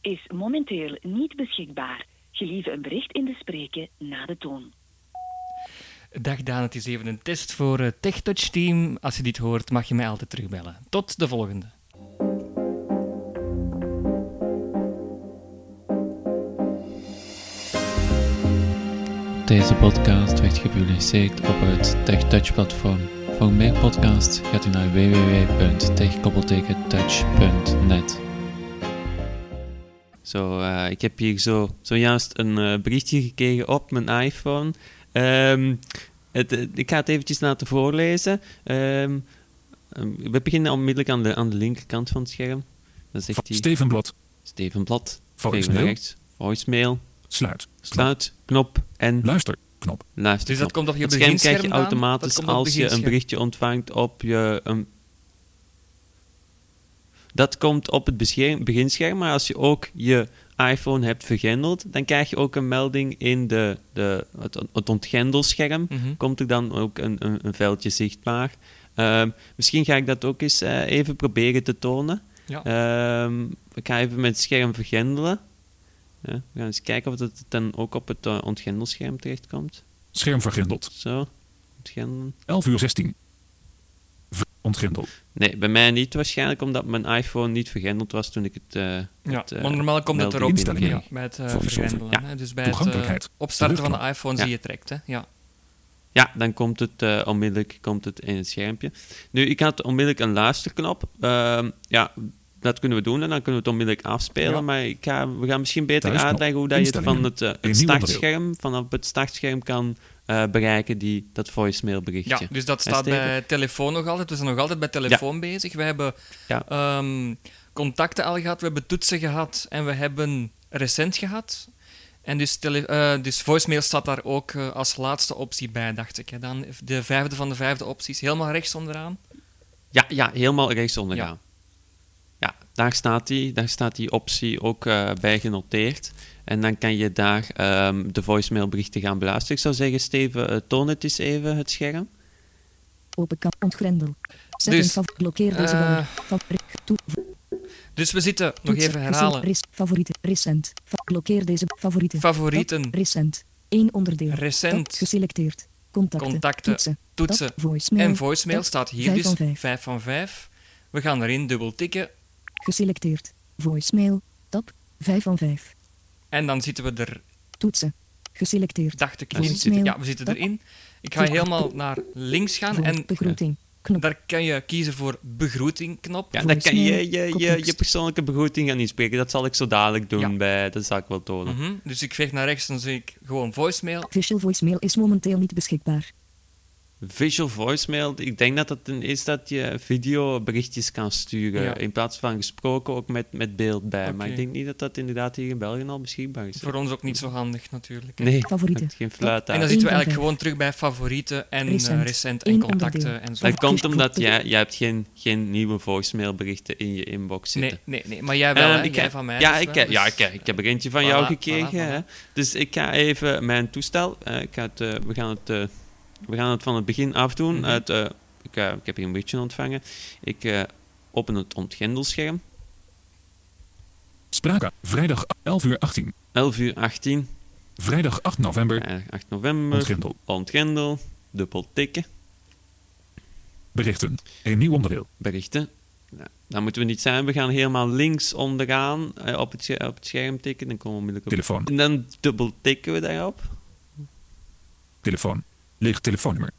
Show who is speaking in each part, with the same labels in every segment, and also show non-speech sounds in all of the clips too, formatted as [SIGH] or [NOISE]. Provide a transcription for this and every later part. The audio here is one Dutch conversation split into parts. Speaker 1: is momenteel niet beschikbaar. Gelieve een bericht in te spreken na de toon.
Speaker 2: Dag Daan, het is even een test voor het TechTouch Team. Als je dit hoort, mag je mij altijd terugbellen. Tot de volgende.
Speaker 3: Deze podcast werd gepubliceerd op het TechTouch-platform. Voor meer podcasts gaat u naar www.techkoppeltekentouch.net.
Speaker 4: Zo, eh, ik heb hier zo, zojuist een eh, berichtje gekregen op mijn iPhone. Ehm, het, eh, ik ga het eventjes laten voorlezen. Ehm, ehm, we beginnen onmiddellijk aan de, aan de linkerkant van het scherm. Dan zegt hij
Speaker 5: Steven Blad.
Speaker 4: Steven Blad. even naar
Speaker 5: Voicemail.
Speaker 4: rechts. Voicemail.
Speaker 5: Sluit.
Speaker 4: Sluit, knop en
Speaker 5: Luister. Knop.
Speaker 4: luister.
Speaker 2: Dus dat komt op je
Speaker 4: Het scherm
Speaker 2: beginscherm
Speaker 4: krijg je
Speaker 2: Daan?
Speaker 4: automatisch
Speaker 2: Dat komt op
Speaker 4: als je een
Speaker 2: beginscherm.
Speaker 4: berichtje ontvangt op je. Een... Dat komt op het bescherm- beginscherm, maar als je ook je iPhone hebt vergrendeld, dan krijg je ook een melding in de, de, het, het ontgrendelscherm.
Speaker 2: Mhm.
Speaker 4: Komt er dan ook een, een, een veldje zichtbaar? Ehm, misschien ga ik dat ook eens eh, even proberen te tonen.
Speaker 2: Ja.
Speaker 4: Ehm, ik ga even met het scherm vergrendelen. Ja, we gaan eens kijken of het dan ook op het eh, ontgrendelscherm terechtkomt.
Speaker 5: Scherm vergrendeld.
Speaker 4: Zo, ontgrendelen.
Speaker 5: 11 uur 16. Ver- Ontgrendeld.
Speaker 4: Nee, bij mij niet waarschijnlijk, omdat mijn iPhone niet vergrendeld was toen ik het... eh,
Speaker 2: Ja,
Speaker 4: het, eh,
Speaker 2: maar normaal komt het
Speaker 4: melding
Speaker 2: erop
Speaker 5: Instellingen.
Speaker 2: ja,
Speaker 4: binnenkreeg.
Speaker 2: bij het eh,
Speaker 5: Volgens over.
Speaker 2: vergrendelen.
Speaker 4: Ja.
Speaker 2: hè. Dus bij het eh,
Speaker 5: Toegankelijkheid.
Speaker 2: opstarten van de
Speaker 5: Luchtmacht.
Speaker 2: iPhone
Speaker 4: Ja.
Speaker 2: zie je trekt. Hè? Ja.
Speaker 4: Ja, dan komt het eh, onmiddellijk komt het in het schermpje. Nu, ik had onmiddellijk een luisterknop. Ehm, ja, dat kunnen we doen en dan kunnen we het onmiddellijk afspelen.
Speaker 5: Ja.
Speaker 4: Maar ik ga, we gaan misschien beter
Speaker 5: Thuisknop.
Speaker 4: uitleggen hoe dat je het van
Speaker 5: Instellingen.
Speaker 4: het, eh, het
Speaker 5: Een nieuw onderdeel.
Speaker 4: startscherm, vanaf het startscherm kan eh, bereiken, die, dat voicemailberichtje.
Speaker 2: ja, dus dat
Speaker 4: Hè,
Speaker 2: staat
Speaker 4: Steven?
Speaker 2: bij telefoon nog altijd. We zijn nog altijd bij telefoon bezig. We hebben
Speaker 4: Ja.
Speaker 2: ehm, contacten al gehad, we hebben toetsen gehad en we hebben recent gehad. En dus, tele- eh, dus voicemail staat daar ook eh, als laatste optie bij, dacht ik. Hè. Dan de vijfde van de vijfde opties, helemaal rechts onderaan.
Speaker 4: Ja, ja helemaal rechtsonder gaan. Ja, daar staat, die, daar staat die optie ook eh, bij genoteerd. En dan kan je daar ehm, de voicemailberichten gaan beluisteren. Ik zou zeggen, Steven, eh, toon het eens even, het scherm.
Speaker 6: Open kap ontgrendel. Zet
Speaker 2: Dus,
Speaker 6: een favoriet. Blokkeer deze
Speaker 2: eh,
Speaker 6: banner. Favoriet. Toe.
Speaker 2: Dus we zitten, nog
Speaker 6: toetsen.
Speaker 2: even
Speaker 6: Recent.
Speaker 2: herhalen,
Speaker 6: Res- favorieten. Recent. Fa- blokkeer deze favorieten.
Speaker 2: favorieten,
Speaker 6: Recent. Eén onderdeel. Tab
Speaker 2: recent,
Speaker 6: geselecteerd. Contacten.
Speaker 2: Contacten.
Speaker 6: Toetsen.
Speaker 2: toetsen
Speaker 6: Tab. voicemail.
Speaker 2: en voicemail staat hier,
Speaker 6: Vijf
Speaker 2: dus
Speaker 6: van vijf.
Speaker 2: 5 van 5. We gaan erin dubbel tikken
Speaker 6: Geselecteerd. Voicemail. Tab. 5 van 5.
Speaker 2: en dan zitten we er
Speaker 6: Toetsen. Geselecteerd.
Speaker 2: dacht ik.
Speaker 4: Daar
Speaker 2: in.
Speaker 6: zitten we.
Speaker 2: Ja, we zitten erin. Ik ga
Speaker 6: Voeg-
Speaker 2: helemaal naar links gaan
Speaker 6: Voor
Speaker 2: en
Speaker 6: begroeting. Knop.
Speaker 2: [LAUGHS] daar kan je kiezen voor begroeting knop.
Speaker 4: Ja, dan kan je je, je,
Speaker 6: Context.
Speaker 4: je persoonlijke begroeting gaan inspreken. Dat zal ik zo dadelijk doen,
Speaker 2: Ja.
Speaker 4: bij, dat zal ik wel tonen.
Speaker 2: Mhm, Dus ik veeg naar rechts, dan zie ik gewoon voicemail.
Speaker 6: Official voicemail is momenteel niet beschikbaar.
Speaker 4: Visual voicemail, ik denk dat dat een is dat je videoberichtjes kan sturen.
Speaker 2: Ja.
Speaker 4: In plaats van gesproken ook met, met beeld bij. Maar
Speaker 2: Oké.
Speaker 4: ik denk niet dat dat inderdaad hier in België al beschikbaar is.
Speaker 2: Voor ons ook niet zo handig natuurlijk. hè.
Speaker 4: Nee,
Speaker 6: Favorieten.
Speaker 4: het geen fluit
Speaker 2: En
Speaker 4: uit.
Speaker 2: dan zitten we
Speaker 6: Eén van vijf.
Speaker 2: eigenlijk gewoon terug bij favorieten en eh, recent,
Speaker 6: Recent.
Speaker 2: en
Speaker 6: Eén
Speaker 2: contacten
Speaker 6: onderdeel.
Speaker 2: en zo.
Speaker 4: Dat
Speaker 6: Vaak
Speaker 4: komt
Speaker 6: is
Speaker 4: omdat
Speaker 6: klopt-
Speaker 4: jij, jij hebt geen, geen nieuwe voicemailberichten in je inbox zitten.
Speaker 2: Nee, nee, nee, maar jij wel,
Speaker 4: Ehm,
Speaker 2: hè?
Speaker 4: ik
Speaker 2: jij
Speaker 4: heb-
Speaker 2: van mij.
Speaker 4: Ja,
Speaker 2: dus
Speaker 4: ik,
Speaker 2: wel,
Speaker 4: heb-
Speaker 2: dus-
Speaker 4: ja ik, ik heb er eentje van
Speaker 2: Voilà,
Speaker 4: jou
Speaker 2: voilà,
Speaker 4: gekregen. Hè? Dus ik ga even mijn toestel. eh, ik ga het, eh, we, gaan het, eh, we gaan het van het begin afdoen.
Speaker 2: Mhm.
Speaker 4: Het, eh, ik, eh, ik heb hier een berichtje ontvangen. Ik eh, open het ontgrendelscherm.
Speaker 5: Spraka. Vrijdag 11 uur 18.
Speaker 4: 11 uur 18,
Speaker 5: Vrijdag 8 november.
Speaker 4: eh, 8 november.
Speaker 5: Ontgrendel.
Speaker 4: Ontgrendel, dubbel tikken,
Speaker 5: Berichten. Een nieuw onderdeel.
Speaker 4: berichten. Nou, daar moeten we niet zijn. We gaan helemaal links onderaan eh, op, het, sche- op het scherm tikken. Dan komen we onmiddellijk op.
Speaker 5: Telefoon.
Speaker 4: En dan dubbel tikken we daarop.
Speaker 5: Telefoon. Leeg telefoonnummer.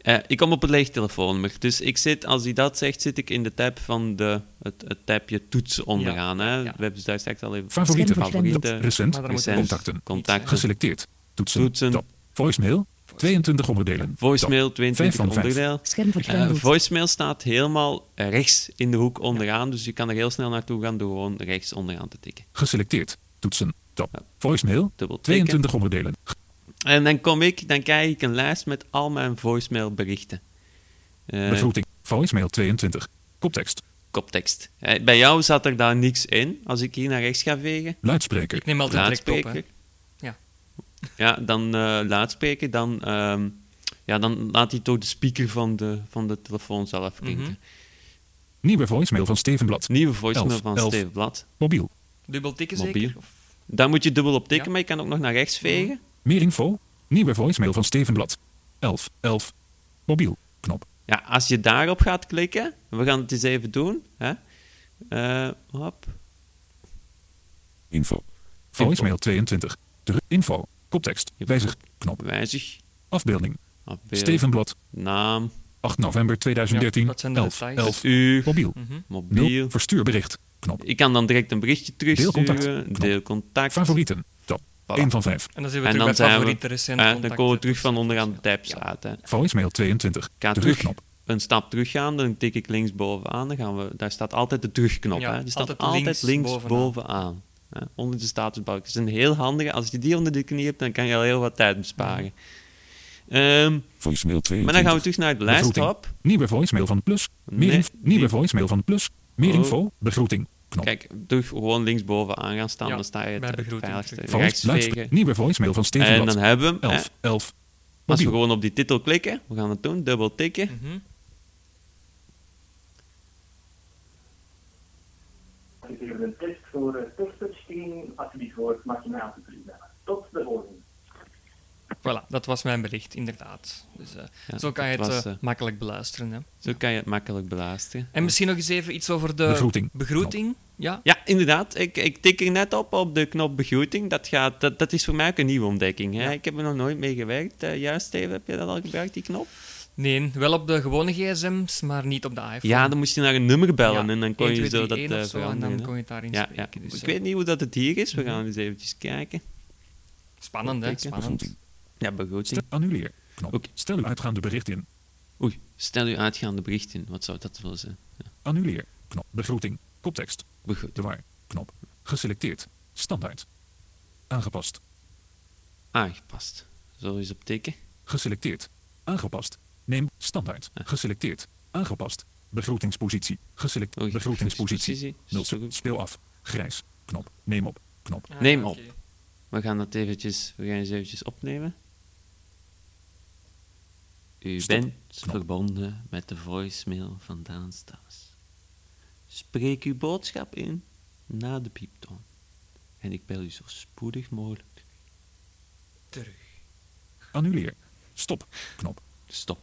Speaker 4: Eh, ik kom op het leeg telefoonnummer. Dus ik zit, als hij dat zegt, zit ik in de tab van de, het, het tabje toetsen onderaan. hè.
Speaker 2: ja.
Speaker 4: We hebben dus daar straks al even
Speaker 5: Favorieten. Dus-
Speaker 6: Schermvergrendeld.
Speaker 4: favorieten,
Speaker 5: Recent.
Speaker 2: Maar daar moet
Speaker 4: recent,
Speaker 5: contacten.
Speaker 4: contacten,
Speaker 5: Geselecteerd. Toetsen.
Speaker 4: Toetsen.
Speaker 5: Tab. Voicemail. 22 onderdelen.
Speaker 4: voicemail,
Speaker 5: Vijf
Speaker 4: 22
Speaker 5: van vijf.
Speaker 4: onderdeel.
Speaker 6: Scherm
Speaker 4: Eh,
Speaker 6: vergrendeld.
Speaker 4: voicemail staat helemaal eh, rechts in de hoek onderaan, dus je kan er heel snel naartoe gaan door gewoon rechts onderaan te tikken.
Speaker 5: Tab. Geselecteerd. Toetsen. Tab. Voicemail.
Speaker 4: Dubbel tikken.
Speaker 5: 22 onderdelen.
Speaker 4: En dan kom ik, dan krijg ik een lijst met al mijn voicemailberichten. Eh,
Speaker 5: Begroeting. Voicemail 22. Koptekst.
Speaker 4: koptekst. Eh, bij jou zat er daar niks in, als ik hier naar rechts ga vegen.
Speaker 5: Luidspreker.
Speaker 2: Ik neem altijd direct op, hè.
Speaker 4: Luidspreker.
Speaker 2: Ja.
Speaker 4: Ja, dan eh luidspreker, dan, ehm, ja, dan laat hij toch de speaker van de, van de telefoon zelf klinken.
Speaker 2: Mhm.
Speaker 5: Nieuwe voicemail van Steven Blad.
Speaker 4: Nieuwe voicemail
Speaker 5: Elf,
Speaker 4: van
Speaker 5: elf.
Speaker 4: Steve Blad.
Speaker 5: Mobiel.
Speaker 2: Dubbel tikken
Speaker 4: Mobiel.
Speaker 2: zeker? Of-
Speaker 4: Daar moet je dubbel op tikken,
Speaker 2: Ja. Mhm.
Speaker 4: maar je kan ook nog naar rechts vegen.
Speaker 5: Meer info? Nieuwe voicemail van Steven Blad. 11, 11. Mobiel. Knop.
Speaker 4: Ja, als je daarop gaat klikken, we gaan het eens even doen. Hè? Eh, hop.
Speaker 5: Info. Voicemail 22. Terug. Info. Koptekst. Wijzig. Knop.
Speaker 4: Wijzig.
Speaker 5: Afbeelding.
Speaker 4: Afbeeld.
Speaker 5: Steven Blad.
Speaker 4: Naam.
Speaker 5: 8 november
Speaker 2: Ja,
Speaker 5: 2013.
Speaker 2: dat zijn de
Speaker 5: 11,
Speaker 2: details.
Speaker 5: 11.
Speaker 4: Uur.
Speaker 5: Mobiel.
Speaker 4: Mhm. Mobiel.
Speaker 5: 0. Verstuurbericht. Knop.
Speaker 4: Ik kan dan direct een berichtje
Speaker 5: Deelcontact.
Speaker 4: terugsturen.
Speaker 5: Knop.
Speaker 4: Deelcontact.
Speaker 5: Favorieten. Tab. 1 van 5.
Speaker 2: En dan zijn we
Speaker 4: En
Speaker 2: terug
Speaker 4: dan
Speaker 2: bij
Speaker 4: zijn
Speaker 2: favoriete
Speaker 4: we,
Speaker 2: recent
Speaker 4: eh, dan
Speaker 2: contacten. dus
Speaker 4: komen we terug van onderaan de tabs uit. Hè.
Speaker 5: Voicemail 22.
Speaker 4: Ik ga terug
Speaker 5: Terugknop.
Speaker 4: een stap teruggaan, dan tik ik linksbovenaan. Dan gaan we, daar staat altijd de terugknop.
Speaker 2: Ja,
Speaker 4: hè? Die staat
Speaker 2: altijd
Speaker 4: altijd,
Speaker 2: links
Speaker 4: linksbovenaan.
Speaker 2: bovenaan.
Speaker 4: hè? Onder de statusbalk. Dat is een heel handige. Als je die onder de knie hebt, dan kan je al heel wat tijd besparen. Ehm,
Speaker 5: Voicemail 22.
Speaker 4: maar dan gaan we terug naar de lijst.
Speaker 5: Begroeting.
Speaker 4: Hop.
Speaker 5: Nieuwe voicemail van Plus. Meer
Speaker 4: Nee,
Speaker 5: inf-
Speaker 4: die-
Speaker 5: Nieuwe voicemail van Plus. Meer
Speaker 4: Oh.
Speaker 5: info. Begroeting. Knop.
Speaker 4: Kijk, terug gewoon linksbovenaan gaan staan.
Speaker 2: Ja,
Speaker 4: dan sta je
Speaker 2: bij
Speaker 4: het
Speaker 2: begroeting
Speaker 4: veiligste
Speaker 2: terug.
Speaker 5: Voice,
Speaker 4: rechts
Speaker 5: luister,
Speaker 4: vegen.
Speaker 5: nieuwe voicemail van Steven
Speaker 4: En
Speaker 5: Blad.
Speaker 4: dan hebben we hem. hè.
Speaker 5: 11, 11.
Speaker 4: Als we
Speaker 5: Mobiel.
Speaker 4: gewoon op die titel klikken, we gaan het doen, dubbel tikken.
Speaker 2: Mhm.
Speaker 7: Dit is een test voor eh, testverscreening. Als je die hoort, mag je mij aan te bellen. Tot de volgende.
Speaker 2: Voilà, dat was mijn bericht, inderdaad. Dus, eh,
Speaker 4: Ja,
Speaker 2: zo kan je het
Speaker 4: dat was,
Speaker 2: eh,
Speaker 4: eh,
Speaker 2: makkelijk beluisteren. Hè.
Speaker 4: Zo kan je het makkelijk beluisteren.
Speaker 2: En misschien nog eens even iets over de
Speaker 5: Begroeting.
Speaker 2: begroeting. Ja,
Speaker 4: Ja, inderdaad. Ik, ik tik er net op op de knop begroeting. Dat, gaat, dat, dat is voor mij ook een nieuwe ontdekking. Hè? Ik heb er nog nooit mee gewerkt. Eh, juist, Steven, heb je dat al gebruikt, die knop?
Speaker 2: nee, wel op de gewone gsm's, maar niet op de iPhone.
Speaker 4: Ja, dan moest je naar een nummer bellen
Speaker 2: Ja,
Speaker 4: en dan kon
Speaker 2: 1, 2,
Speaker 4: je zo
Speaker 2: 3,
Speaker 4: dat
Speaker 2: 1
Speaker 4: eh,
Speaker 2: of zo, En
Speaker 4: veranderen.
Speaker 2: dan
Speaker 4: hè.
Speaker 2: kon je het daarin
Speaker 4: ja, ja.
Speaker 2: spreken. Dus, eh,
Speaker 4: ik
Speaker 2: Mhm.
Speaker 4: weet niet hoe dat het hier is. We gaan eens eventjes kijken.
Speaker 2: Spannend, hè?
Speaker 4: Oké.
Speaker 2: Spannend.
Speaker 4: Ja, begroeting.
Speaker 5: Stel- Annuleer. Knop.
Speaker 4: Oké.
Speaker 5: Stel uw uitgaande bericht in.
Speaker 4: Oei, stel u uitgaande bericht in. Wat zou dat willen zijn?
Speaker 5: Annuleer. Knop. Begroeting. Koptekst.
Speaker 4: Begroeting.
Speaker 5: De waar. Knop. Geselecteerd. Standaard. Aangepast.
Speaker 4: Aangepast. Zo eens op tikken.
Speaker 5: Geselecteerd. Aangepast. Neem. Standaard. Geselecteerd. Aangepast. Begroetingspositie.
Speaker 4: Oei,
Speaker 5: Geselecteerd. Begroetingspositie.
Speaker 4: begroetingspositie.
Speaker 5: Nul. sec- Speel af. Grijs. Knop. Neem op. Knop.
Speaker 2: Ah,
Speaker 4: [LAUGHS] Neem
Speaker 2: oké.
Speaker 4: op. We gaan dat eventjes, we gaan eens eventjes opnemen. U
Speaker 5: Stop.
Speaker 4: bent verbonden met de voicemail van Daan Stas. Spreek uw boodschap in na de pieptoon. En ik bel u zo spoedig mogelijk.
Speaker 5: Annuleer. Stop. Knop.
Speaker 4: Stop.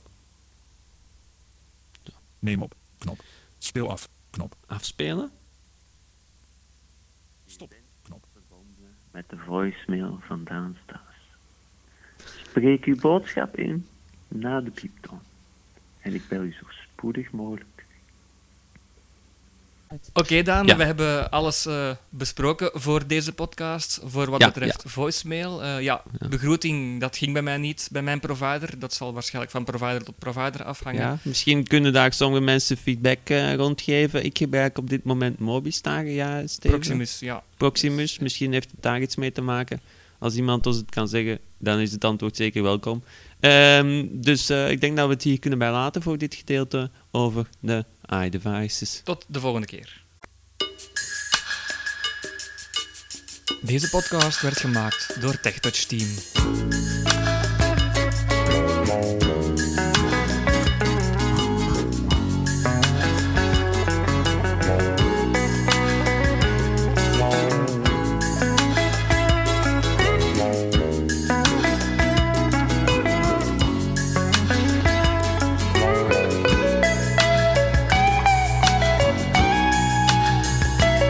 Speaker 5: Neem op. Knop. Speel af. Knop.
Speaker 4: Afspelen.
Speaker 5: Stop. Knop.
Speaker 8: met de voicemail van Daan Staes. Spreek uw boodschap in na de pieptoon. En ik bel u zo spoedig mogelijk.
Speaker 2: Oké, Daan,
Speaker 4: Ja.
Speaker 2: we hebben alles eh, besproken voor deze podcast. Voor wat
Speaker 4: Ja,
Speaker 2: betreft voicemail. Eh, ja, begroeting, dat ging bij mij niet, bij mijn provider. Dat zal waarschijnlijk van provider tot provider afhangen.
Speaker 4: Ja, misschien kunnen daar sommige mensen feedback eh, rondgeven. Ik gebruik op dit moment Mobistar, ja, Steven?
Speaker 2: Proximus, ja.
Speaker 4: Proximus, misschien heeft het daar iets mee te maken. Als iemand ons het kan zeggen, dan is het antwoord zeker welkom. Ehm, dus eh, ik denk dat we het hier kunnen bij laten voor dit gedeelte over de iDevices.
Speaker 2: Tot de volgende keer. Deze podcast werd gemaakt door TechTouch Team.